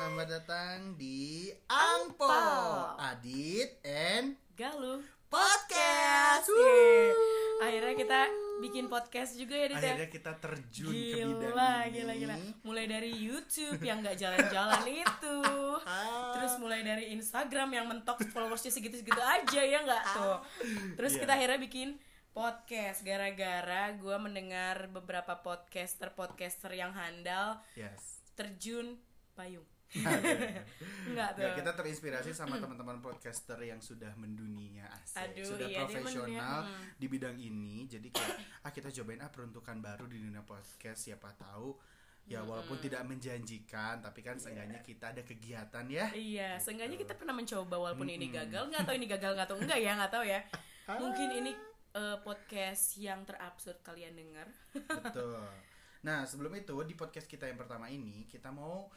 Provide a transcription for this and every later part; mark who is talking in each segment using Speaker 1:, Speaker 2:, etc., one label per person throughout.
Speaker 1: datang di Angpo
Speaker 2: Angpo.
Speaker 1: Adit and
Speaker 2: Galuh
Speaker 1: Podcast.
Speaker 2: Yeay.
Speaker 1: Wuh.
Speaker 2: Akhirnya kita bikin podcast juga ya Dit ya?
Speaker 1: Akhirnya kita terjun ke bidang
Speaker 2: Gila,
Speaker 1: ini.
Speaker 2: gila, gila Mulai dari Youtube yang gak jalan-jalan itu Terus mulai dari Instagram yang mentok followersnya segitu-segitu aja ya nggak tuh Terus
Speaker 1: Iya.
Speaker 2: kita akhirnya bikin podcast Gara-gara gue mendengar beberapa podcaster-podcaster yang handal
Speaker 1: Yes.
Speaker 2: Terjun payung
Speaker 1: Nah,
Speaker 2: Enggak tuh
Speaker 1: Ya, kita terinspirasi sama teman-teman podcaster yang sudah mendunia asik,
Speaker 2: Aduh,
Speaker 1: sudah
Speaker 2: iya, dia
Speaker 1: profesional
Speaker 2: mendunia, mm.
Speaker 1: di bidang ini. Jadi kayak ah kita cobain ah peruntukan baru di dunia podcast siapa tahu ya walaupun tidak menjanjikan tapi kan seenggaknya kita ada kegiatan ya.
Speaker 2: Iya, seenggaknya kita pernah mencoba walaupun ini
Speaker 1: Mm-mm. Ah.
Speaker 2: gagal, nggak tahu ini gagal nggak tahu enggak ya, nggak tahu ya. Mungkin ini eh, podcast yang terabsurd kalian dengar.
Speaker 1: Betul. Nah, sebelum itu di podcast kita yang pertama ini kita mau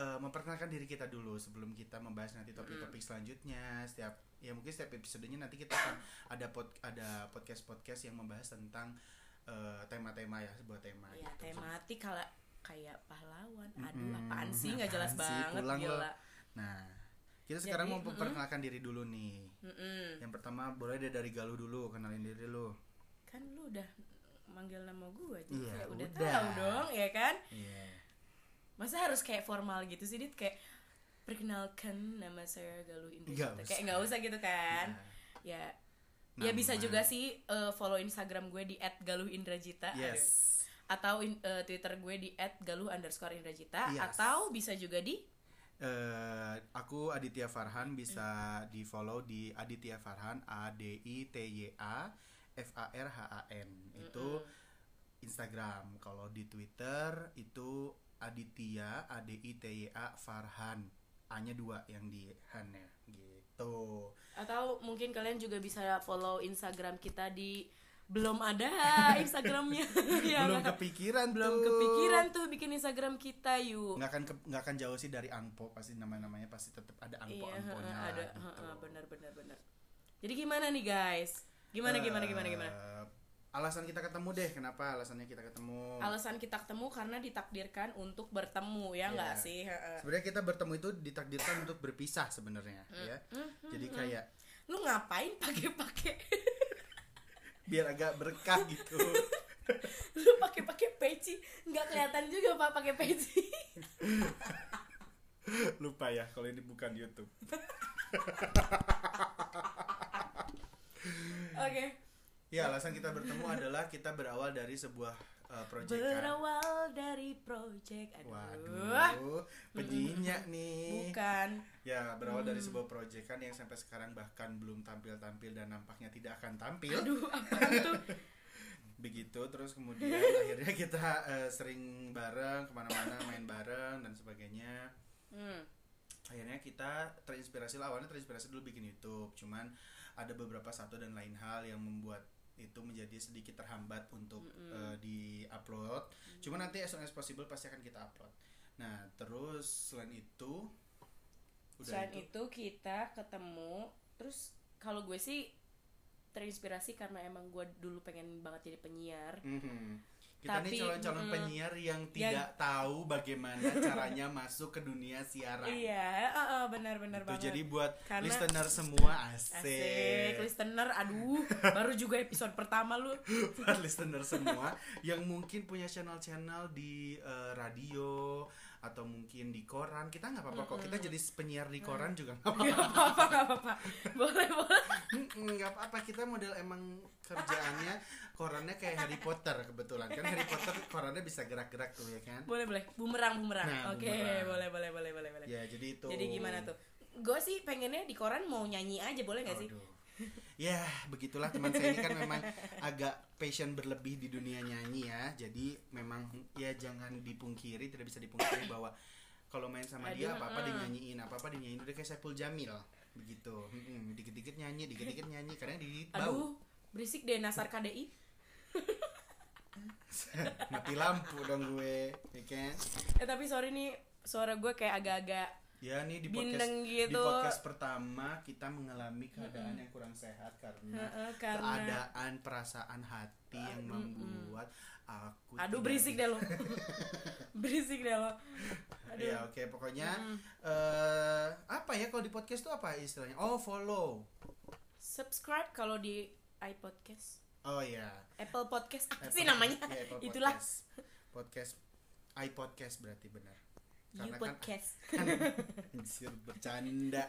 Speaker 1: eh, memperkenalkan diri kita dulu sebelum kita membahas nanti topik-topik selanjutnya. Setiap ya mungkin setiap episodenya nanti kita akan ada pod- ada podcast-podcast yang membahas tentang eh, tema-tema ya, sebuah tema
Speaker 2: ya,
Speaker 1: gitu.
Speaker 2: tematik kalau kayak pahlawan. Aduh,
Speaker 1: Mm-mm.
Speaker 2: apaan sih nggak jelas
Speaker 1: Apaan sih?
Speaker 2: banget
Speaker 1: Pulang
Speaker 2: gila.
Speaker 1: lo. Nah, kita sekarang
Speaker 2: Jadi,
Speaker 1: mau memperkenalkan diri dulu nih.
Speaker 2: Mm-mm.
Speaker 1: Yang pertama boleh deh dari Galuh dulu, kenalin diri lu.
Speaker 2: Kan lu udah manggil nama gue aja,
Speaker 1: Iya,
Speaker 2: ya, udah,
Speaker 1: udah.
Speaker 2: tahu dong, ya kan?
Speaker 1: Iya.
Speaker 2: Masa harus kayak formal gitu sih, Dit? Kayak perkenalkan nama saya Galuh
Speaker 1: Nggak
Speaker 2: Indonesia.
Speaker 1: usah.
Speaker 2: Kayak nggak usah gitu kan? Ya, ya
Speaker 1: Nama.
Speaker 2: bisa juga sih eh, follow Instagram gue di @galuhindrajita. Aduh.
Speaker 1: Yes.
Speaker 2: atau in- eh, Twitter gue di @galuh underscore Indrajita
Speaker 1: Yes.
Speaker 2: atau bisa juga di
Speaker 1: eh aku Aditya Farhan bisa
Speaker 2: Mm-hmm.
Speaker 1: di follow di Aditya Farhan A D I T Y A F A R H A N itu Instagram kalau di Twitter itu Aditya A D I T Y A Farhan A nya dua yang di Han ya gitu
Speaker 2: atau mungkin kalian juga bisa follow Instagram kita di belum ada Instagramnya Ya
Speaker 1: belum
Speaker 2: nggak?
Speaker 1: kepikiran
Speaker 2: belum
Speaker 1: tuh.
Speaker 2: kepikiran tuh bikin Instagram kita yuk
Speaker 1: nggak akan ke- nggak akan jauh sih dari angpo pasti nama-namanya pasti tetap ada angpo
Speaker 2: iya
Speaker 1: angponya
Speaker 2: heeh, ada
Speaker 1: gitu.
Speaker 2: heeh, benar benar benar jadi gimana nih guys gimana gimana gimana gimana
Speaker 1: Eh, alasan kita ketemu deh kenapa alasannya kita ketemu
Speaker 2: alasan kita ketemu karena ditakdirkan untuk bertemu ya nggak
Speaker 1: Iya.
Speaker 2: sih heeh.
Speaker 1: sebenarnya kita bertemu itu ditakdirkan untuk berpisah sebenarnya
Speaker 2: Mm.
Speaker 1: ya
Speaker 2: Mm-hmm.
Speaker 1: jadi kayak
Speaker 2: lu ngapain pakai pakai
Speaker 1: biar agak berkah gitu
Speaker 2: lu pakai pakai peci nggak kelihatan juga pak pakai peci
Speaker 1: lupa ya kalau ini bukan YouTube
Speaker 2: Oke.
Speaker 1: ya alasan kita bertemu adalah kita berawal dari sebuah uh, proyekan
Speaker 2: Berawal dari project. Aduh.
Speaker 1: waduh penyinya nih
Speaker 2: Mm-hmm. Bukan. Mm-hmm.
Speaker 1: ya berawal dari sebuah proyekan yang sampai sekarang bahkan belum tampil tampil dan nampaknya tidak akan tampil
Speaker 2: Aduh, apa tuh?
Speaker 1: begitu terus kemudian akhirnya kita eh, sering bareng kemana-mana main bareng dan sebagainya
Speaker 2: Hmm.
Speaker 1: akhirnya kita terinspirasi lah awalnya terinspirasi dulu bikin YouTube cuman ada beberapa satu dan lain hal yang membuat itu menjadi sedikit terhambat untuk di upload cuman nanti as soon as possible pasti akan kita upload nah terus selain itu udah
Speaker 2: Selain
Speaker 1: itu,
Speaker 2: itu kita ketemu terus kalau gue sih terinspirasi karena emang gue dulu pengen banget jadi penyiar.
Speaker 1: Mhm. kita nih
Speaker 2: Tapi,
Speaker 1: calon-calon
Speaker 2: mm,
Speaker 1: penyiar yang
Speaker 2: ya-
Speaker 1: tidak tahu bagaimana caranya masuk ke dunia siaran
Speaker 2: Iya, eh, eh, benar-benar
Speaker 1: Tuh,
Speaker 2: banget.
Speaker 1: jadi buat
Speaker 2: Karena-
Speaker 1: listener semua asik,
Speaker 2: Asik, listener, aduh, baru juga episode pertama lu.
Speaker 1: buat listener semua yang mungkin punya channel-channel di eh, radio atau mungkin di koran kita nggak apa-apa kok kita jadi penyiar
Speaker 2: Mm.
Speaker 1: di koran juga nggak apa-apa
Speaker 2: Gak apa-apa, gak apa-apa. Boleh, boleh.
Speaker 1: Mm-mm, nggak apa-apa kita model emang kerjaannya korannya kayak Harry Potter kebetulan kan Harry Potter korannya bisa gerak-gerak tuh ya kan
Speaker 2: Boleh, boleh. Bumerang, bumerang.
Speaker 1: Nah,
Speaker 2: Oke,
Speaker 1: bumerang.
Speaker 2: boleh, boleh, boleh, boleh, boleh.
Speaker 1: ya jadi itu
Speaker 2: Jadi gimana tuh? Gue sih pengennya di koran mau nyanyi aja boleh gak sih?
Speaker 1: Aduh. Ya, begitulah teman saya ini kan memang agak passion berlebih di dunia nyanyi ya. Jadi memang ya jangan dipungkiri, tidak bisa dipungkiri bahwa kalau main sama dia
Speaker 2: Aduh,
Speaker 1: apa-apa
Speaker 2: heeh.
Speaker 1: dia nyanyiin, apa-apa dia nyanyiin udah kayak Saiful Jamil begitu. Mm-mm, dikit-dikit nyanyi, dikit-dikit nyanyi, kadang di bau.
Speaker 2: Aduh, berisik deh Nasar KDI.
Speaker 1: Mati lampu dong ya kan? gue, ya kan?
Speaker 2: Eh tapi sorry nih, suara gue kayak agak-agak
Speaker 1: Ya nih di podcast
Speaker 2: Bindeng gitu.
Speaker 1: di podcast pertama kita mengalami keadaan yang kurang sehat karena,
Speaker 2: Heeh, karena-
Speaker 1: keadaan perasaan hati yang membuat aku tidak
Speaker 2: Aduh berisik
Speaker 1: bisa-
Speaker 2: deh lo. berisik deh lo. Aduh. Hmm.
Speaker 1: Ya oke pokoknya eh apa ya kalau di podcast tuh apa istilahnya? Oh follow.
Speaker 2: Subscribe kalau di iPodcast.
Speaker 1: Oh ya.
Speaker 2: Apple Podcast apa sih
Speaker 1: Apple-
Speaker 2: namanya?
Speaker 1: ya, Apple
Speaker 2: Itulah
Speaker 1: Podcast. Podcast iPodcast berarti benar. kan
Speaker 2: You Podcast.
Speaker 1: Anjir, bercanda.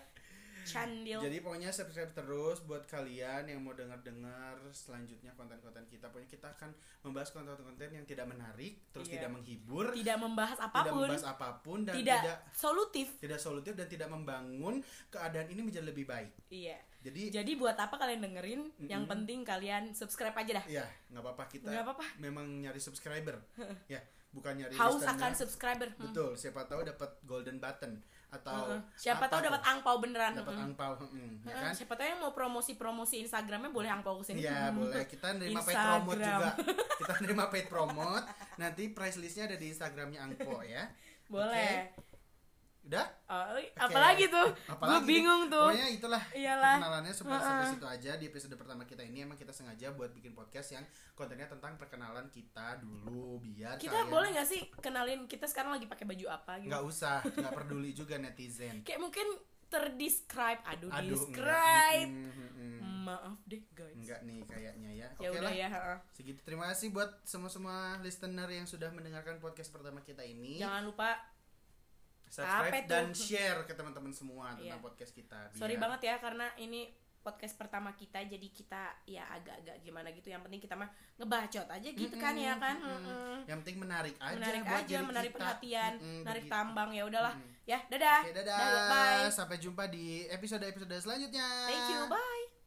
Speaker 2: Candil.
Speaker 1: Jadi pokoknya subscribe terus buat kalian yang mau dengar-dengar selanjutnya konten-konten kita. Pokoknya kita akan membahas konten-konten yang tidak menarik, terus
Speaker 2: Iya.
Speaker 1: tidak menghibur,
Speaker 2: tidak membahas
Speaker 1: tidak
Speaker 2: apapun,
Speaker 1: membahas apapun dan
Speaker 2: tidak,
Speaker 1: tidak
Speaker 2: solutif.
Speaker 1: tidak solutif dan tidak membangun keadaan ini menjadi lebih baik.
Speaker 2: Iya.
Speaker 1: Jadi
Speaker 2: Jadi buat apa kalian dengerin? Yang
Speaker 1: Mm-mm.
Speaker 2: penting kalian subscribe aja dah.
Speaker 1: ya nggak apa-apa kita
Speaker 2: Nggak apa-apa.
Speaker 1: memang nyari subscriber, ya bukan nyari
Speaker 2: Haus
Speaker 1: listener.
Speaker 2: akan subscriber. Hmm.
Speaker 1: Betul, siapa tahu dapat golden button atau
Speaker 2: Heeh.
Speaker 1: apa
Speaker 2: Siapa tahu
Speaker 1: tuh?
Speaker 2: dapat angpau Hmm. Uh-huh. beneran.
Speaker 1: dapat
Speaker 2: Mm-mm.
Speaker 1: angpau, mm, ya
Speaker 2: Heeh,
Speaker 1: kan?
Speaker 2: Siapa tahu yang mau promosi-promosi Instagramnya boleh angpau kesini.
Speaker 1: Iya
Speaker 2: Hmm.
Speaker 1: boleh kita nerima paid promote juga
Speaker 2: Instagram.
Speaker 1: kita nerima paid promote nanti price listnya ada di Instagramnya Angpo ya
Speaker 2: Boleh.
Speaker 1: udah
Speaker 2: Oh, apalagi tuh? Gue
Speaker 1: Apalagi-
Speaker 2: bingung tuh.
Speaker 1: pokoknya itulah
Speaker 2: Iyalah.
Speaker 1: perkenalannya sampai,
Speaker 2: Heeh.
Speaker 1: sampai situ aja di episode pertama kita ini emang kita sengaja buat bikin podcast yang kontennya tentang perkenalan kita dulu biar
Speaker 2: Kita boleh nggak sih kenalin kita sekarang lagi pakai baju apa gitu?
Speaker 1: nggak usah nggak perduli juga netizen
Speaker 2: Kayak mungkin terdescribe. Aduh,
Speaker 1: aduh enggak,
Speaker 2: describe.
Speaker 1: mm, mm, mm, mm.
Speaker 2: Maaf deh guys.
Speaker 1: enggak nih kayaknya ya oke
Speaker 2: Ya udah
Speaker 1: lah
Speaker 2: ya. heeh.
Speaker 1: segitu terima kasih buat semua semua listener yang sudah mendengarkan podcast pertama kita ini
Speaker 2: Jangan lupa Apa
Speaker 1: subscribe
Speaker 2: itu?
Speaker 1: dan share ke teman-teman semua tentang
Speaker 2: Iya.
Speaker 1: podcast kita. biar-
Speaker 2: Sorry banget ya karena ini podcast pertama kita jadi kita ya agak-agak gimana gitu yang penting kita mah ngebacot aja gitu kan ya kan
Speaker 1: Mm-mm.
Speaker 2: Mm-mm.
Speaker 1: Yang penting menarik aja
Speaker 2: menarik
Speaker 1: buat
Speaker 2: aja
Speaker 1: diri
Speaker 2: menarik
Speaker 1: kita.
Speaker 2: perhatian
Speaker 1: Mm-mm,
Speaker 2: menarik
Speaker 1: begitu.
Speaker 2: tambang ya udahlah
Speaker 1: Mm-mm.
Speaker 2: ya dadah
Speaker 1: Oke, dadah.
Speaker 2: bye
Speaker 1: Sampai jumpa di episode-episode selanjutnya.
Speaker 2: thank you bye